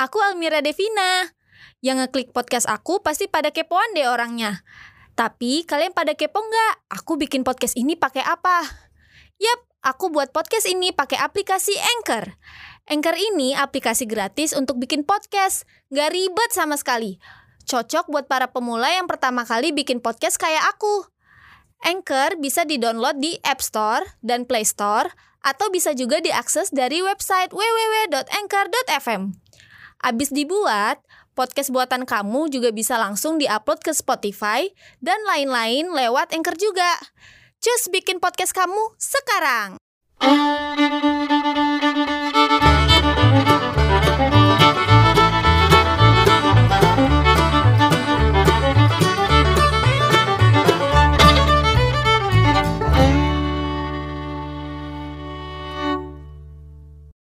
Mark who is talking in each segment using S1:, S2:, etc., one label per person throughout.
S1: Aku Almira Devina. Yang ngeklik podcast aku pasti pada kepoan deh orangnya. Tapi kalian pada kepo nggak? Aku bikin podcast ini pakai apa? Yap, aku buat podcast ini pakai aplikasi Anchor. Anchor ini aplikasi gratis untuk bikin podcast. Nggak ribet sama sekali. Cocok buat para pemula yang pertama kali bikin podcast kayak aku. Anchor bisa didownload di App Store dan Play Store atau bisa juga diakses dari website www.anchor.fm. Abis dibuat, podcast buatan kamu juga bisa langsung diupload ke Spotify dan lain-lain lewat Anchor juga. Cus bikin podcast kamu sekarang.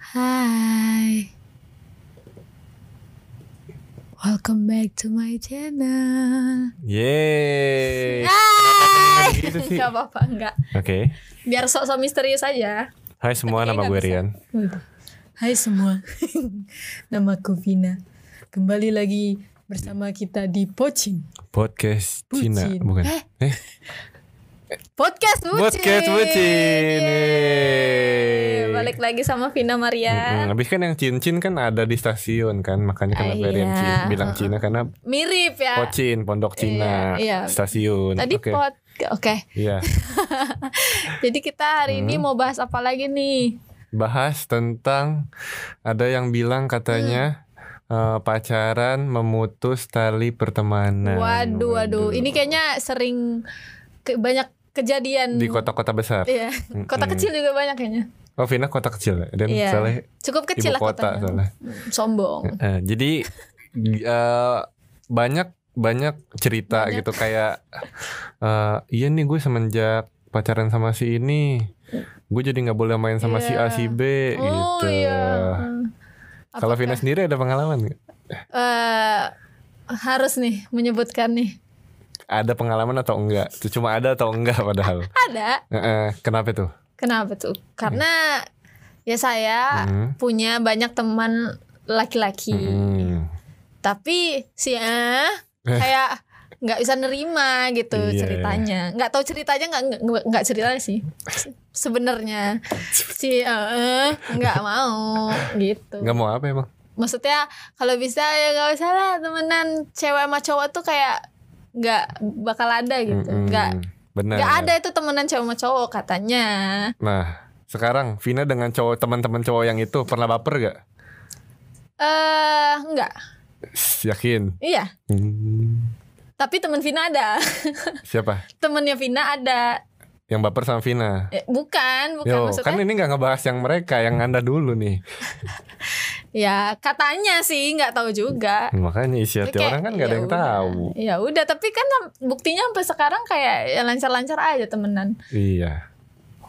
S1: Hai. Welcome back to my channel.
S2: Yeay.
S1: Hai.
S2: Gitu sih.
S1: Gak apa-apa, enggak.
S2: Oke.
S1: Biar sok-sok misterius aja.
S2: Hai semua,
S1: Tapi
S2: nama
S1: nggak
S2: gue
S1: bisa.
S2: Rian.
S3: Hai semua, namaku Vina. Kembali lagi bersama kita di Pocin
S2: Podcast Cina,
S3: Bucin.
S2: bukan?
S1: Eh.
S2: Eh,
S1: Podcast Bucin.
S2: podcast Bucin.
S1: Yeay.
S2: Yeay.
S1: Balik lagi sama Vina
S2: Mm-mm.
S1: Maria.
S2: Habis kan yang cincin kan ada di stasiun kan, makanya
S1: Ah,
S2: kenapa Rian
S1: iya.
S2: Cina, bilang Cina karena
S1: Mirip ya.
S2: Pocin, Pondok Cina,
S1: Iya, iya.
S2: stasiun.
S1: Tadi
S2: Oke.
S1: pot. Oke.
S2: Iya.
S1: Jadi kita hari ini mau bahas apa lagi nih?
S2: Bahas tentang ada yang bilang katanya
S1: Hmm.
S2: eh, pacaran memutus tali pertemanan.
S1: waduh, waduh. Ini kayaknya sering ke- banyak kejadian.
S2: di kota-kota besar.
S1: Iya. Kota
S2: Mm-mm.
S1: kecil juga banyak kayaknya.
S2: Oh Vina kota kecil ya? dan
S1: Iya.
S2: soalnya
S1: Cukup kecil
S2: ibu
S1: lah
S2: kota
S1: kotanya.
S2: soalnya.
S1: Sombong.
S2: Eh, jadi g- eh, banyak banyak cerita
S1: Banyak.
S2: gitu kayak eh, iya nih gue semenjak pacaran sama si ini gue jadi nggak boleh main sama si A
S1: Iya.
S2: si B
S1: Oh
S2: gitu.
S1: iya.
S2: Kalau Vina
S1: Apakah,
S2: sendiri ada pengalaman nggak?
S1: eh, harus nih menyebutkan nih.
S2: Ada pengalaman atau enggak? Itu Cuma ada atau enggak padahal.
S1: Ada.
S2: Eh, eh, kenapa tuh?
S1: Kenapa tuh? Karena ya saya
S2: Hmm.
S1: punya banyak teman laki-laki.
S2: Hmm.
S1: tapi si eh kayak nggak bisa nerima gitu
S2: Iya.
S1: ceritanya nggak tahu ceritanya nggak nggak- nggak ceritanya sih Se- sebenarnya si eh, eh nggak mau gitu
S2: Nggak mau apa emang?
S1: maksudnya kalau bisa ya nggak usah lah temenan cewek sama cowok tuh kayak nggak bakal ada gitu
S2: Mm-mm. Iya.
S1: nggak
S2: Hmm, Benar.
S1: nggak ada itu temenan cewek sama cowok katanya
S2: Nah, sekarang Vina dengan cowok teman-teman cowok yang itu pernah baper gak?
S1: eh nggak
S2: S- Yakin?
S1: iya
S2: Hmm.
S1: tapi temen Vina ada
S2: Siapa?
S1: temennya Vina ada
S2: Yang baper sama Vina?
S1: Eh, bukan bukan
S2: Yo,
S1: maksudnya
S2: kan ini gak ngebahas yang mereka, yang anda dulu nih
S1: Ya katanya sih nggak tahu juga.
S2: Makanya isi hati
S1: Kayak,
S2: orang kan gak ada
S1: ya
S2: yang
S1: udah.
S2: tahu
S1: Ya udah, tapi kan sam- buktinya sampai sekarang kayak ya lancar-lancar aja temenan.
S2: Iya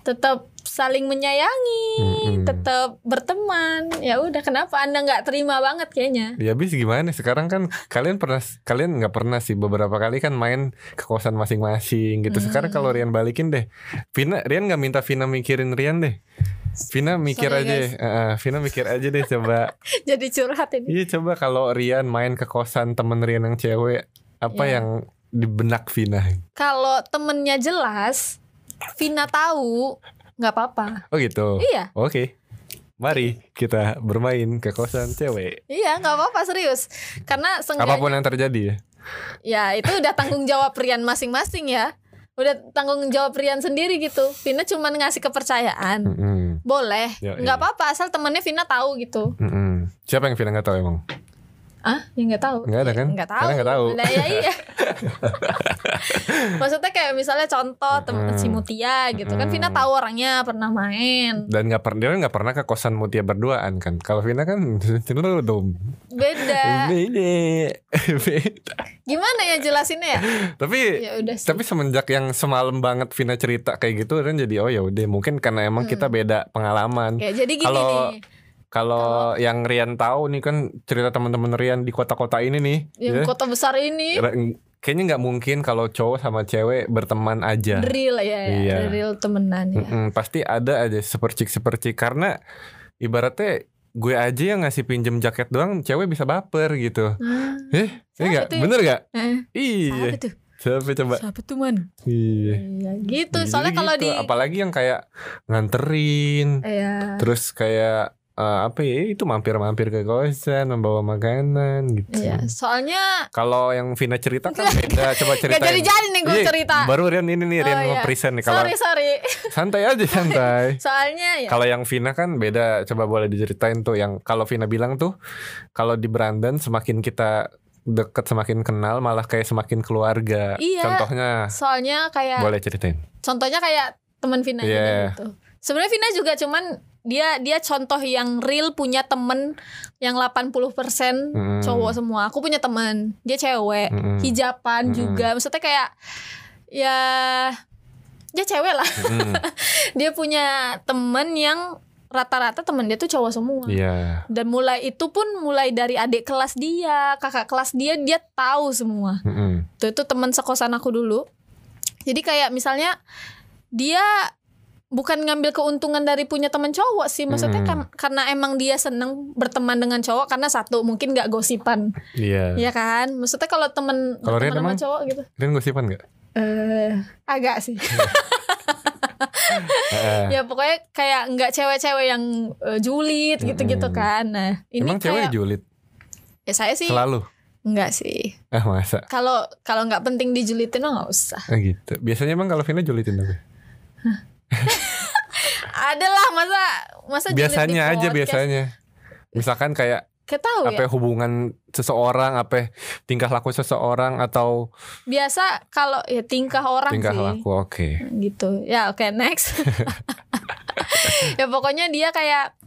S1: Tetap saling menyayangi,
S2: Mm-mm.
S1: tetap berteman. Ya udah, kenapa Anda nggak terima banget kayaknya?
S2: Ya abis gimana sekarang kan kalian pernah Kalian gak pernah sih beberapa kali kan main ke kosan masing-masing gitu Sekarang
S1: Hmm.
S2: kalau Rian balikin deh Vina, Rian gak minta Vina mikirin Rian deh Vina mikir
S1: Sorry,
S2: aja
S1: guys.
S2: eh, eh, Vina mikir aja deh coba
S1: Jadi curhat ini.
S2: Iya coba kalau Rian main ke kosan temen Rian yang cewek apa
S1: Iya.
S2: yang di benak Vina?
S1: Kalau temennya jelas, Vina tahu, nggak apa-apa.
S2: Oh gitu.
S1: Iya,
S2: Oke. Mari kita bermain ke kosan cewek.
S1: iya nggak apa-apa serius. Karena seenggaknya
S2: Apapun yang terjadi ya.
S1: Ya itu udah tanggung jawab Rian masing-masing ya Udah tanggung jawab Rian sendiri gitu Vina cuman ngasih kepercayaan
S2: Mm-mm.
S1: Boleh
S2: Ya,
S1: nggak
S2: iya.
S1: apa-apa asal temennya Vina tahu gitu
S2: Mm-mm. Siapa yang Vina nggak tahu emang?
S1: Ah ya nggak tahu
S2: Nggak ada kan?
S1: Nggak tahu
S2: Karena nggak tahu.
S1: Lah, ya iya Maksudnya kayak misalnya contoh temen
S2: Mm.
S1: si Mutia gitu kan
S2: Mm.
S1: Vina tahu orangnya pernah main
S2: Dan nggak pernah dia nggak pernah ke kosan Mutia berduaan kan? Kalau Vina kan cenderung dong.
S1: Beda
S2: Ini.
S1: Gimana ya jelasinnya ya
S2: Tapi
S1: Ya udah sih
S2: tapi semenjak yang semalam banget Vina cerita kayak gitu Rian jadi oh ya udah mungkin karena emang kita beda pengalaman.
S1: Oke, jadi gini
S2: Kalau-
S1: nih
S2: Kalau yang Rian tahu nih kan cerita teman-teman Rian di kota-kota ini nih.
S1: Yang
S2: ya.
S1: kota besar ini
S2: Ra- Kayaknya nggak mungkin kalau cowok sama cewek berteman aja.
S1: Real ya, ya.
S2: Iya.
S1: Real temenan ya
S2: Mm-mm, pasti ada aja sepercik-sepercik karena ibaratnya gue aja yang ngasih pinjem jaket doang cewek bisa baper gitu
S1: Ah,
S2: eh
S1: Siapa
S2: enggak
S1: tuh ya?
S2: bener gak
S3: Eh,
S1: Apa
S2: iya
S1: tuh?
S2: siapa coba
S3: siapa tuh man?
S2: iya
S3: Iya,
S1: Gitu,
S2: Jadi
S1: soalnya kalau
S2: gitu.
S1: di
S2: apalagi yang kayak nganterin
S1: Iya.
S2: terus kayak eh, apa ya itu mampir-mampir ke kosan membawa makanan gitu
S1: Iya, soalnya
S2: kalau yang Vina cerita kan beda coba
S1: nggak
S2: ceritain
S1: jadi-jadi nih gue
S2: Iya,
S1: cerita.
S2: baru Rian ini nih Rian
S1: Oh,
S2: mau
S1: iya.
S2: present nih kalau
S1: Sorry, sorry.
S2: santai aja santai
S1: Soalnya ya.
S2: Kalau yang Vina kan beda, coba boleh diceritain tuh yang kalau Vina bilang tuh kalau di Brandan semakin kita deket semakin kenal malah kayak semakin keluarga.
S1: Iya.
S2: Contohnya
S1: Soalnya kayak
S2: boleh ceritain.
S1: contohnya kayak teman Vina ini
S2: Iya.
S1: gitu. Sebenarnya Vina juga cuman dia dia contoh yang real punya temen yang 80%
S2: Mm.
S1: cowok semua. Aku punya temen, dia cewek,
S2: Mm-mm.
S1: hijapan
S2: Mm-mm.
S1: juga. Maksudnya kayak ya dia cewek lah.
S2: Mm,
S1: Dia punya temen yang rata-rata temen dia tuh cowok semua.
S2: Iya.
S1: Dan mulai itu pun mulai dari adik kelas dia, kakak kelas dia, dia tahu semua
S2: Mm-mm.
S1: itu itu teman sekosan aku dulu jadi kayak misalnya dia bukan ngambil keuntungan dari punya teman cowok sih maksudnya
S2: Hmm.
S1: kan- karena emang dia seneng berteman dengan cowok karena satu mungkin nggak gosipan
S2: Iya.
S1: ya kan maksudnya kalau temen
S2: Kalau Rian
S1: berteman sama
S2: emang?
S1: cowok gitu
S2: Rian gosipan nggak?
S1: eh agak sih
S2: Eh,
S1: ya pokoknya kayak nggak cewek-cewek yang eh, julid gitu-gitu
S2: Mm-mm.
S1: kan nah ini
S2: Hmm. Emang cewek
S1: kayak
S2: julid
S1: ya saya sih
S2: selalu.
S1: nggak sih
S2: Ah masa?
S1: kalau kalau nggak penting dijulitin mah nggak usah
S2: Ah, gitu. Biasanya emang kalau Vina julidin tapi.
S1: adalah masa masa julid di
S2: Biasanya aja
S1: podcast.
S2: biasanya. Misalkan kayak
S1: Kayak tahu ya.
S2: apa hubungan seseorang, apa tingkah laku seseorang atau
S1: Biasa kalau ya tingkah orang
S2: tingkah
S1: sih.
S2: laku. Oke.
S1: Gitu. Ya, oke next. ya pokoknya dia kayak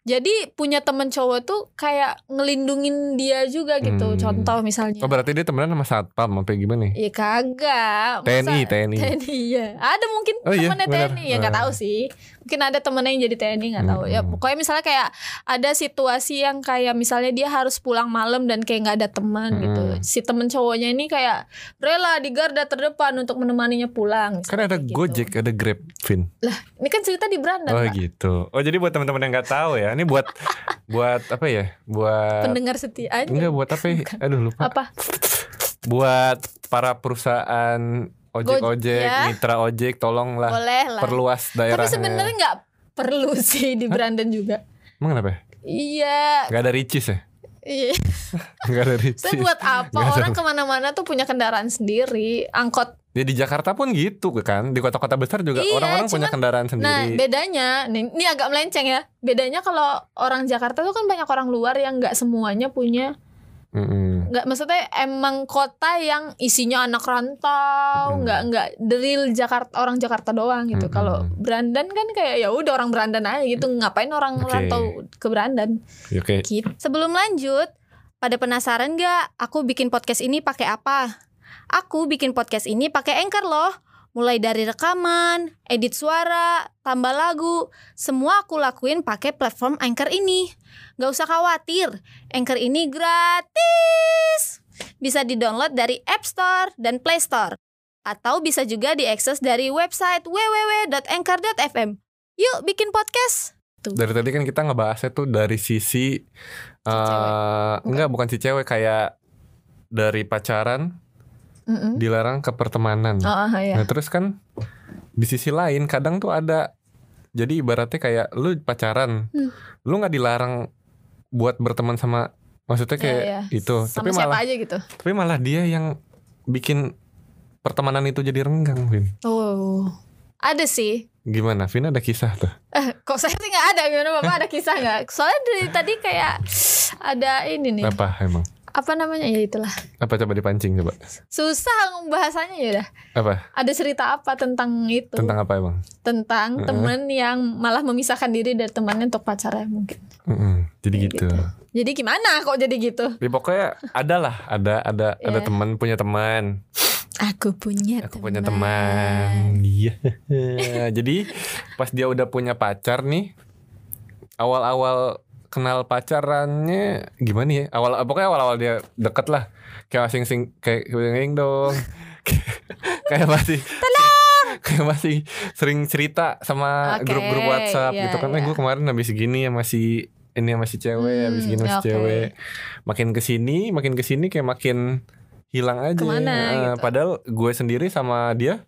S1: jadi punya temen cowok tuh kayak ngelindungin dia juga gitu.
S2: Hmm.
S1: Contoh misalnya.
S2: Oh berarti dia temenan sama satpam apa gimana nih?
S1: Iya kagak. Masa-
S2: TNI, TNI.
S1: TNI ya. Ada mungkin
S2: Oh iya,
S1: temennya
S2: benar.
S1: TNI ya nggak
S2: Ah.
S1: tahu sih. Mungkin ada temennya yang jadi TNI nggak tahu. Ya
S2: Mm-mm.
S1: pokoknya misalnya kayak ada situasi yang kayak misalnya dia harus pulang malam dan kayak nggak ada teman gitu.
S2: Mm.
S1: Si temen cowoknya ini kayak rela di garda terdepan untuk menemaninya pulang.
S2: Kan ada
S1: Kayak gitu.
S2: Gojek, ada Grab, Vin.
S1: Ini kan cerita di Brandon.
S2: Oh
S1: Pak.
S2: gitu. Oh jadi buat teman-teman yang nggak tahu ya, ini buat buat apa ya? Buat
S1: Pendengar setia. aja.
S2: enggak buat apa? ya? Aduh lupa.
S1: Apa?
S2: Buat para perusahaan ojek ojek,
S1: ya.
S2: mitra ojek, tolonglah
S1: Boleh lah.
S2: perluas
S1: Tapi
S2: Ah, daerahnya.
S1: sebenarnya nggak perlu sih di Brandon juga.
S2: Emang kenapa? ya?
S1: Iya,
S2: Nggak ada ricis ya?
S1: iya.
S2: Nggak ada ricis.
S1: Saya buat apa
S2: Nggak ada.
S1: orang kemana-mana tuh punya kendaraan sendiri, angkot.
S2: Ya di Jakarta pun gitu kan, di kota-kota besar juga
S1: Iya,
S2: orang-orang punya
S1: cuman-
S2: kendaraan
S1: Nah
S2: sendiri.
S1: bedanya, nih, ini agak melenceng ya. Bedanya kalau orang Jakarta tuh kan banyak orang luar yang nggak semuanya punya,
S2: Mm-mm.
S1: nggak maksudnya emang kota yang isinya anak rantau,
S2: Mm.
S1: nggak nggak deril Jakarta orang Jakarta doang gitu.
S2: Mm-mm.
S1: Kalau Brandan kan kayak ya udah orang Brandan aja gitu, ngapain orang
S2: Oke.
S1: rantau ke Brandan?
S2: Ya,
S1: Iya.
S2: Oke.
S1: Sebelum lanjut, pada penasaran nggak aku bikin podcast ini pakai apa? Aku bikin podcast ini pakai Anchor loh. Mulai dari rekaman, edit suara, tambah lagu, semua aku lakuin pakai platform Anchor ini. Gak usah khawatir, Anchor ini gratis. Bisa di-download dari App Store dan Play Store. Atau bisa juga diakses dari website www.anchor.fm. Yuk bikin podcast!
S2: dari tadi kan kita ngebahasnya tuh dari sisi eh enggak bukan si cewek kayak dari pacaran dilarang ke pertemanan.
S1: Hmm? Oh,
S2: Nah, terus kan di sisi lain kadang tuh ada jadi ibaratnya kayak lu pacaran,
S1: Hmm.
S2: lu nggak dilarang buat berteman sama maksudnya kayak
S1: Iya,
S2: itu,
S1: Sama
S2: tapi
S1: siapa
S2: malah
S1: aja gitu.
S2: tapi malah dia yang bikin pertemanan itu jadi renggang, Vin.
S1: Oh. Ada sih.
S2: Gimana? Vin ada kisah tuh.
S1: Eh, kok saya sih nggak ada gimana Bapak ada kisah nggak? Soalnya dari tadi kayak ada ini nih.
S2: Apa emang?
S1: Apa namanya? Ya itulah.
S2: Apa coba dipancing coba?
S1: Susah bahasanya ya udah.
S2: Apa?
S1: Ada cerita apa tentang itu?
S2: Tentang apa emang?
S1: Tentang
S2: Heeh.
S1: temen yang malah memisahkan diri dari temannya untuk pacarnya mungkin.
S2: Mm-mm, jadi
S1: Kayak
S2: gitu.
S1: gitu. Jadi gimana kok jadi gitu?
S2: Ya, pokoknya ada lah, ada ada ada
S1: Iya.
S2: teman punya teman.
S1: Aku punya
S2: Aku punya teman. Iya. Jadi pas dia udah punya pacar nih, awal-awal kenal pacarannya gimana ya? Awal pokoknya awal-awal dia deket lah. Kayak masing sing kayak sing dong. kayak masih kayak masih sering cerita sama
S1: Oke,
S2: grup-grup WhatsApp
S1: iya,
S2: gitu kan. Eh
S1: iya.
S2: gue kemarin habis gini ya masih ini sama si
S1: Hmm,
S2: cewek habis gini sama si
S1: oke.
S2: cewek makin kesini makin kesini kayak makin hilang aja
S1: Kemana
S2: Eh,
S1: gitu.
S2: padahal gue sendiri sama dia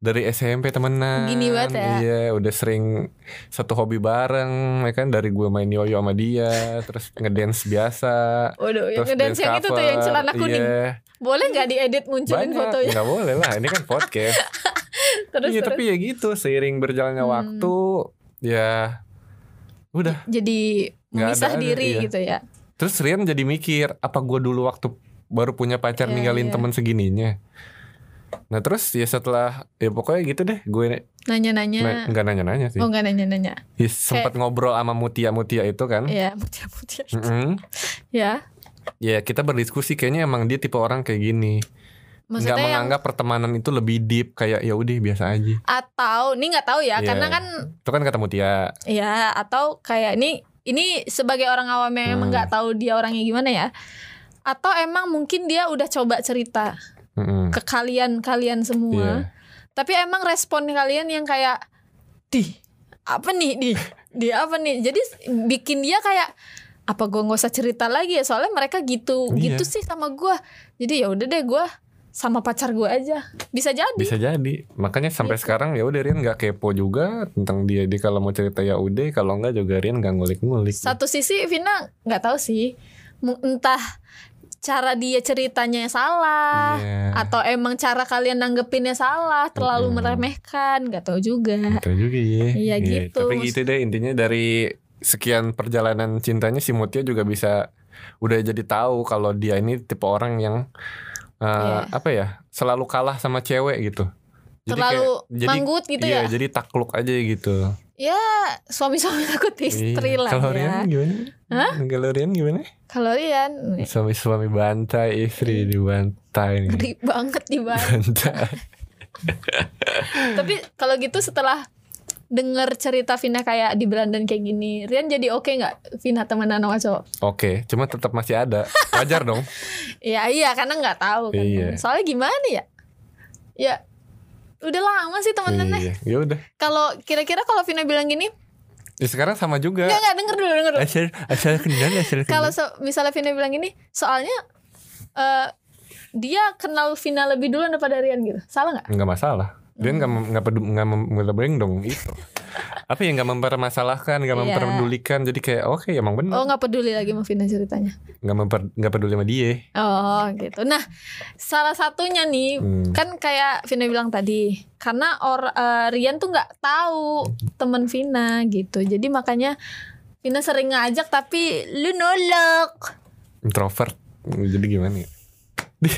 S2: dari SMP temenan
S1: Gini banget ya.
S2: iya udah sering satu hobi bareng ya kan dari gue main yoyo sama dia terus ngedance biasa
S3: Waduh, yang
S2: terus
S3: ngedance yang itu tuh yang
S2: cover,
S3: celana kuning.
S2: iya.
S3: Boleh nggak diedit munculin
S2: banyak
S3: fotonya?
S2: nggak boleh lah ini kan podcast
S3: Terus
S2: iya
S3: terus.
S2: tapi ya gitu seiring berjalannya
S3: Hmm.
S2: waktu ya udah
S3: Jadi
S2: Nggak
S3: memisah
S2: ada,
S3: diri
S2: iya.
S3: gitu ya.
S2: Terus Rian jadi mikir, apa gue dulu waktu baru punya pacar
S3: Iya,
S2: ninggalin
S3: iya.
S2: teman segininya. Nah terus ya setelah ya pokoknya gitu deh, gue na-
S3: Nanya-nanya.
S2: nggak nanya-nanya sih.
S3: Iya. oh nggak nanya-nanya.
S2: Ya, sempat ngobrol sama Mutia-Mutia itu kan.
S3: Ya, mutia-mutia.
S2: Mm-mm.
S3: Ya.
S2: Ya kita berdiskusi kayaknya emang dia tipe orang kayak gini. Nggak
S3: Maksudnya yang
S2: menganggap pertemanan itu lebih deep kayak ya udah biasa aja.
S3: atau ini nggak tahu ya,
S2: Iya.
S3: karena kan
S2: Itu kan kata Mutia.
S3: ya atau kayak ini ini sebagai orang awam yang emang
S2: Hmm.
S3: nggak tahu dia orangnya gimana ya. Atau emang mungkin dia udah coba cerita
S2: Mm-mm.
S3: ke kalian-kalian semua.
S2: Iya.
S3: Tapi emang respon kalian yang kayak di apa nih di di apa nih? Jadi bikin dia kayak apa gua nggak usah cerita lagi ya soalnya mereka gitu
S2: Iya.
S3: gitu sih sama gua. Jadi ya udah deh gua sama pacar gua aja. Bisa jadi.
S2: Bisa jadi. Makanya sampai
S3: Gitu.
S2: sekarang ya udah Rian nggak kepo juga tentang dia. Dia kalau mau cerita ya udah, kalau nggak juga Rian nggak ngulik-ngulik.
S3: Satu sisi Vina nggak tahu sih Mu- entah cara dia ceritanya salah
S2: Iya.
S3: atau emang cara kalian nanggepinnya salah terlalu
S2: Mm-mm.
S3: meremehkan nggak tahu juga.
S2: Betul juga ya.
S3: Iya, gitu.
S2: Tapi gitu deh intinya dari sekian perjalanan cintanya si Mutia juga bisa udah jadi tahu kalau dia ini tipe orang yang eh,
S3: Iya.
S2: apa ya selalu kalah sama cewek gitu.
S3: Terlalu
S2: kayak- jadi-
S3: manggut gitu
S2: iya,
S3: ya.
S2: jadi takluk aja gitu.
S3: ya suami-suami takut istri
S2: Iya.
S3: lah
S2: Kalau
S3: ya.
S2: Rian gimana?
S3: Hah?
S2: Kalau Rian gimana?
S3: Kalau Rian
S2: Suami-suami bantai istri dibantai nih.
S3: ngeri banget Iya. di Bali.
S2: Bantai.
S3: Tapi kalau gitu setelah denger cerita Vina kayak di Belanda kayak gini, Rian jadi oke nggak Vina temenan sama cowok?
S2: Oke, cuma tetap masih ada. Wajar dong.
S3: Iya iya karena nggak tahu kan.
S2: Iya.
S3: Soalnya gimana ya? Ya udah lama sih temenannya.
S2: iya, ya udah.
S3: Kalau kira-kira kalau Vina bilang gini,
S2: Ya, sekarang sama juga.
S3: nggak nggak denger dulu denger dulu.
S2: Asal asal kenal asal kenal.
S3: Kalau so- misalnya Vina bilang gini, soalnya eh, dia kenal Vina lebih dulu daripada Rian gitu, salah nggak?
S2: nggak masalah dia nggak
S3: Hmm.
S2: mem- nggak peduli nggak mem- nggak berdeng dong itu apa ya nggak mempermasalahkan nggak
S3: Iya.
S2: memperdulikan jadi kayak oke emang
S3: Oh
S2: benar
S3: nggak peduli lagi sama Vina ceritanya.
S2: nggak memper- nggak peduli sama dia
S3: Oh gitu. Nah, salah satunya nih
S2: Hmm.
S3: kan kayak Vina bilang tadi, karena or eh, Rian tuh nggak tahu temen Vina gitu. Jadi makanya Vina sering ngajak tapi lu nolak.
S2: introvert jadi gimana ya Dih,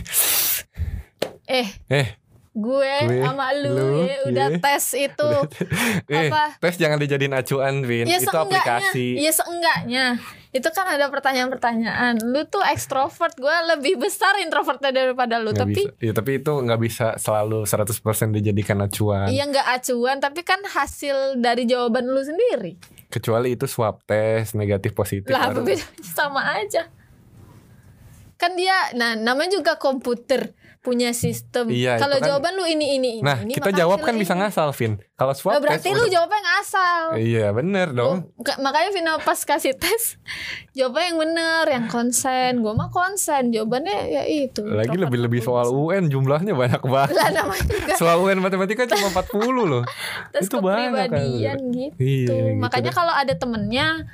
S3: Eh,
S2: eh
S3: gue
S2: Gue,
S3: sama lu,
S2: lu, iya.
S3: ya udah
S2: ye.
S3: tes itu.
S2: eh
S3: Oh. Apa?
S2: tes jangan dijadiin acuan Vin
S3: Ya
S2: itu
S3: seenggaknya,
S2: aplikasi
S3: ya seenggaknya. Itu kan ada pertanyaan-pertanyaan. Lu tuh ekstrovert, gue lebih besar introvertnya daripada lu,
S2: Nggak
S3: tapi
S2: bisa. Ya, tapi itu nggak bisa selalu 100% dijadikan acuan
S3: Iya nggak acuan, tapi kan hasil dari jawaban lu sendiri.
S2: kecuali itu swab tes negatif positif
S3: Lah
S2: baru-
S3: bedanya sama aja. Kan dia, nah namanya juga komputer punya sistem.
S2: Iya, itu
S3: Kalau
S2: kan-
S3: jawaban lu ini ini ini.
S2: nah
S3: ini,
S2: kita
S3: maka
S2: jawab kan
S3: hasilnya
S2: bisa
S3: ini.
S2: ngasal Vin kalau
S3: Lah,
S2: swab
S3: berarti
S2: tes
S3: lu
S2: udah-
S3: jawabnya ngasal.
S2: iya bener dong
S3: Lu- ka- makanya Vino pas kasih tes jawabnya yang bener, yang konsen. Gue mah konsen, jawabannya ya itu.
S2: Lagi
S3: introvert
S2: lebih-lebih
S3: aku.
S2: soal UN jumlahnya banyak banget.
S3: Lah namanya juga
S2: Soal UN matematika cuma 40 loh.
S3: tes
S2: itu banyak kan.
S3: kepribadian gitu.
S2: Iya,
S3: Tuh,
S2: gitu
S3: makanya
S2: deh.
S3: kalau ada temennya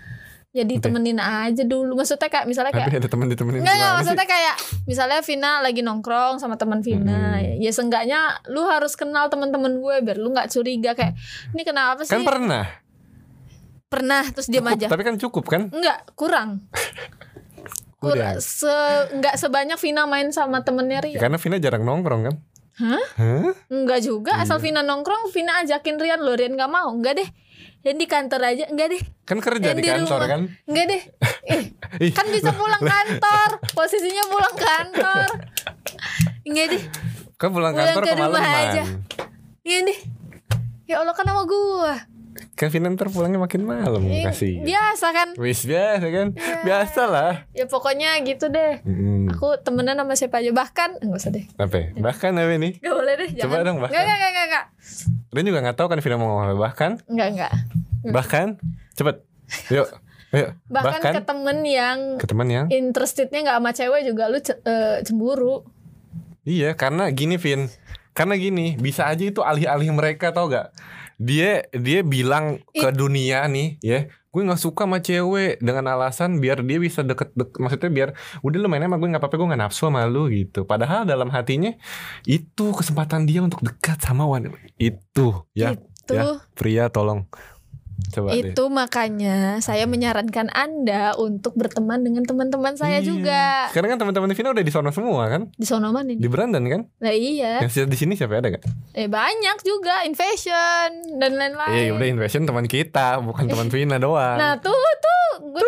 S3: ya ditemenin aja dulu maksudnya kayak misalnya
S2: tapi
S3: kayak
S2: ada temen ditemenin
S3: Enggak, enggak,
S2: gimana sih?
S3: maksudnya kayak misalnya Vina lagi nongkrong sama teman Vina.
S2: Mm-mm.
S3: Ya seenggaknya lu harus kenal teman-teman gue biar lu nggak curiga kayak ini kenapa sih?
S2: Kan pernah.
S3: Pernah terus diam
S2: Cukup,
S3: aja.
S2: tapi kan cukup kan?
S3: Enggak, kurang. Kur
S2: Udah.
S3: se enggak sebanyak Vina main sama
S2: Ya,
S3: temennya Rian.
S2: karena Vina jarang nongkrong kan?
S3: Hah?
S2: Hah?
S3: Enggak juga, asal
S2: Iya.
S3: Vina nongkrong Vina ajakin Rian loh, Rian nggak mau. Enggak deh. Rian di kantor aja, enggak deh.
S2: Kan kerja
S3: Dan
S2: di
S3: di
S2: kantor
S3: rumah.
S2: kan?
S3: Enggak deh. Ih,
S2: Ih,
S3: kan bisa pulang kantor. Posisinya pulang kantor. Enggak deh.
S2: kan pulang
S3: pulang
S2: kantor
S3: ke rumah
S2: kemalaman.
S3: aja. Enggak Iya deh. Ya Allah kan sama gua.
S2: Kan Vina ntar pulangnya makin malam
S3: Ih,
S2: kasih.
S3: Biasa kan.
S2: Wis biasa kan? Biasa lah.
S3: Ya pokoknya gitu deh.
S2: Hmm,
S3: Aku temenan sama siapa aja bahkan enggak usah deh.
S2: apa ya? Bahkan apa nih?
S3: Enggak boleh deh, jangan.
S2: Coba dong, bahkan.
S3: Enggak, enggak, enggak, enggak.
S2: Rian juga nggak tahu kan Vina mau ngomong apa. Bahkan,
S3: Enggak, enggak.
S2: bahkan, cepet. Yuk. Ayo,
S3: bahkan,
S2: Bahkan-
S3: ke temen yang
S2: ke teman yang
S3: interestednya nggak sama cewek juga lu ce- eh, cemburu
S2: Iya, karena gini Vin. Karena gini, bisa aja itu alih-alih mereka tau gak? Dia dia bilang ke dunia nih, ya, gue nggak suka sama cewek dengan alasan biar dia bisa deket, dek- maksudnya biar udah lu mainnya sama gue nggak apa-apa gue nggak nafsu sama lu gitu. Padahal dalam hatinya itu kesempatan dia untuk dekat sama wanita itu, ya.
S3: itu
S2: Ya, pria tolong coba deh.
S3: itu makanya
S2: Hmm.
S3: saya menyarankan anda untuk berteman dengan teman-teman saya
S2: Iya.
S3: juga
S2: Sekarang kan teman-teman Vina udah di sono semua kan?
S3: di sono mana ini
S2: Di Brandon kan?
S3: nah iya
S2: Yang si- di sini siapa ada gak?
S3: eh banyak juga in fashion
S2: Iya,
S3: dan lain-lain
S2: udah invasion teman kita, bukan teman Vina doang. Eh,
S3: nah kan tuh tuh gue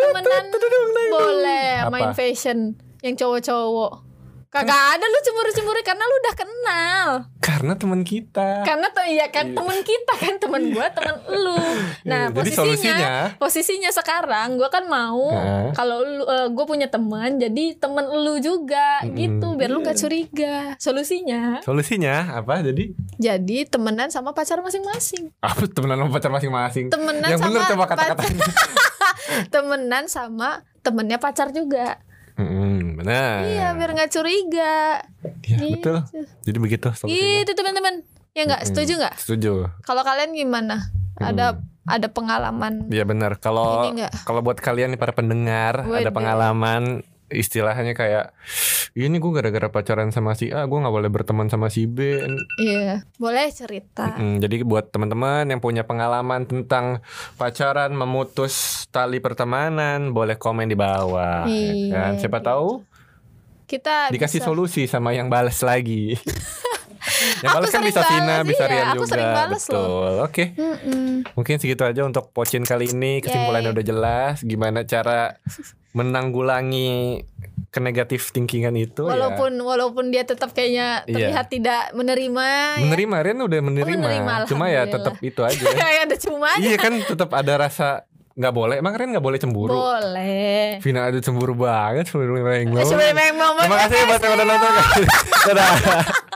S3: temenan boleh
S2: Apa?
S3: main fashion yang cowok-cowok kagak
S2: Kan-
S3: ada lu cemburu-cemburu karena lu udah kenal
S2: Karena teman kita.
S3: karena tuh iya kan temen kita kan temen gue temen lu nah
S2: Iya, jadi
S3: posisinya
S2: solusinya
S3: posisinya sekarang gue kan mau
S2: Heeh.
S3: kalau gue punya teman jadi temen lu juga
S2: Mm-mm. Iya.
S3: gitu biar lu gak curiga solusinya
S2: solusinya apa? Jadi
S3: jadi temenan sama pacar masing-masing
S2: apa temenan sama pacar masing-masing?
S3: temenan
S2: Yang bener coba
S3: sama pacar
S2: kata-katanya.
S3: temenan sama temennya pacar juga
S2: Mm, benar.
S3: iya biar nggak curiga
S2: Iya, betul.
S3: Gitu.
S2: Jadi begitu solusinya.
S3: gitu teman-teman ya nggak
S2: Mm-mm.
S3: setuju nggak
S2: Setuju.
S3: kalau kalian gimana ada ada pengalaman
S2: Iya benar. Kalau
S3: Ini nggak?
S2: kalau buat kalian nih para pendengar ada
S3: Waduh.
S2: pengalaman istilahnya kayak ini gue gara-gara pacaran sama si A, gue nggak boleh berteman sama si B.
S3: iya boleh cerita
S2: Mm, jadi buat teman-teman yang punya pengalaman tentang pacaran memutus tali pertemanan, boleh komen di bawah. ya
S3: Iya,
S2: kan? Siapa
S3: gitu.
S2: tahu
S3: kita
S2: dikasih
S3: bisa-
S2: solusi sama yang balas lagi. yang
S3: Aku
S2: balas kan
S3: sering
S2: bisa Vina,
S3: bales,
S2: bisa
S3: iya,
S2: Rian
S3: aku
S2: juga.
S3: sering bales
S2: Betul.
S3: loh.
S2: Oke.
S3: Mm-mm.
S2: Mungkin segitu aja untuk pocin kali ini. Kesimpulannya
S3: Yay.
S2: udah jelas gimana cara menanggulangi kenegatif thinkingan itu ya.
S3: walaupun walaupun dia tetap kayaknya
S2: Iya.
S3: terlihat tidak menerima ya.
S2: Menerima Rian udah menerima.
S3: menerima,
S2: Cuma ya
S3: alhamdulillah.
S2: tetap itu aja.
S3: Kayak Ya, ada cuma
S2: iya kan tetap ada rasa nggak boleh emang Ren nggak boleh cemburu
S3: boleh
S2: Vina aduh cemburu banget cemburu yang
S3: Eh, sebenarnya memang
S2: terima kasih buat yang udah nonton dadah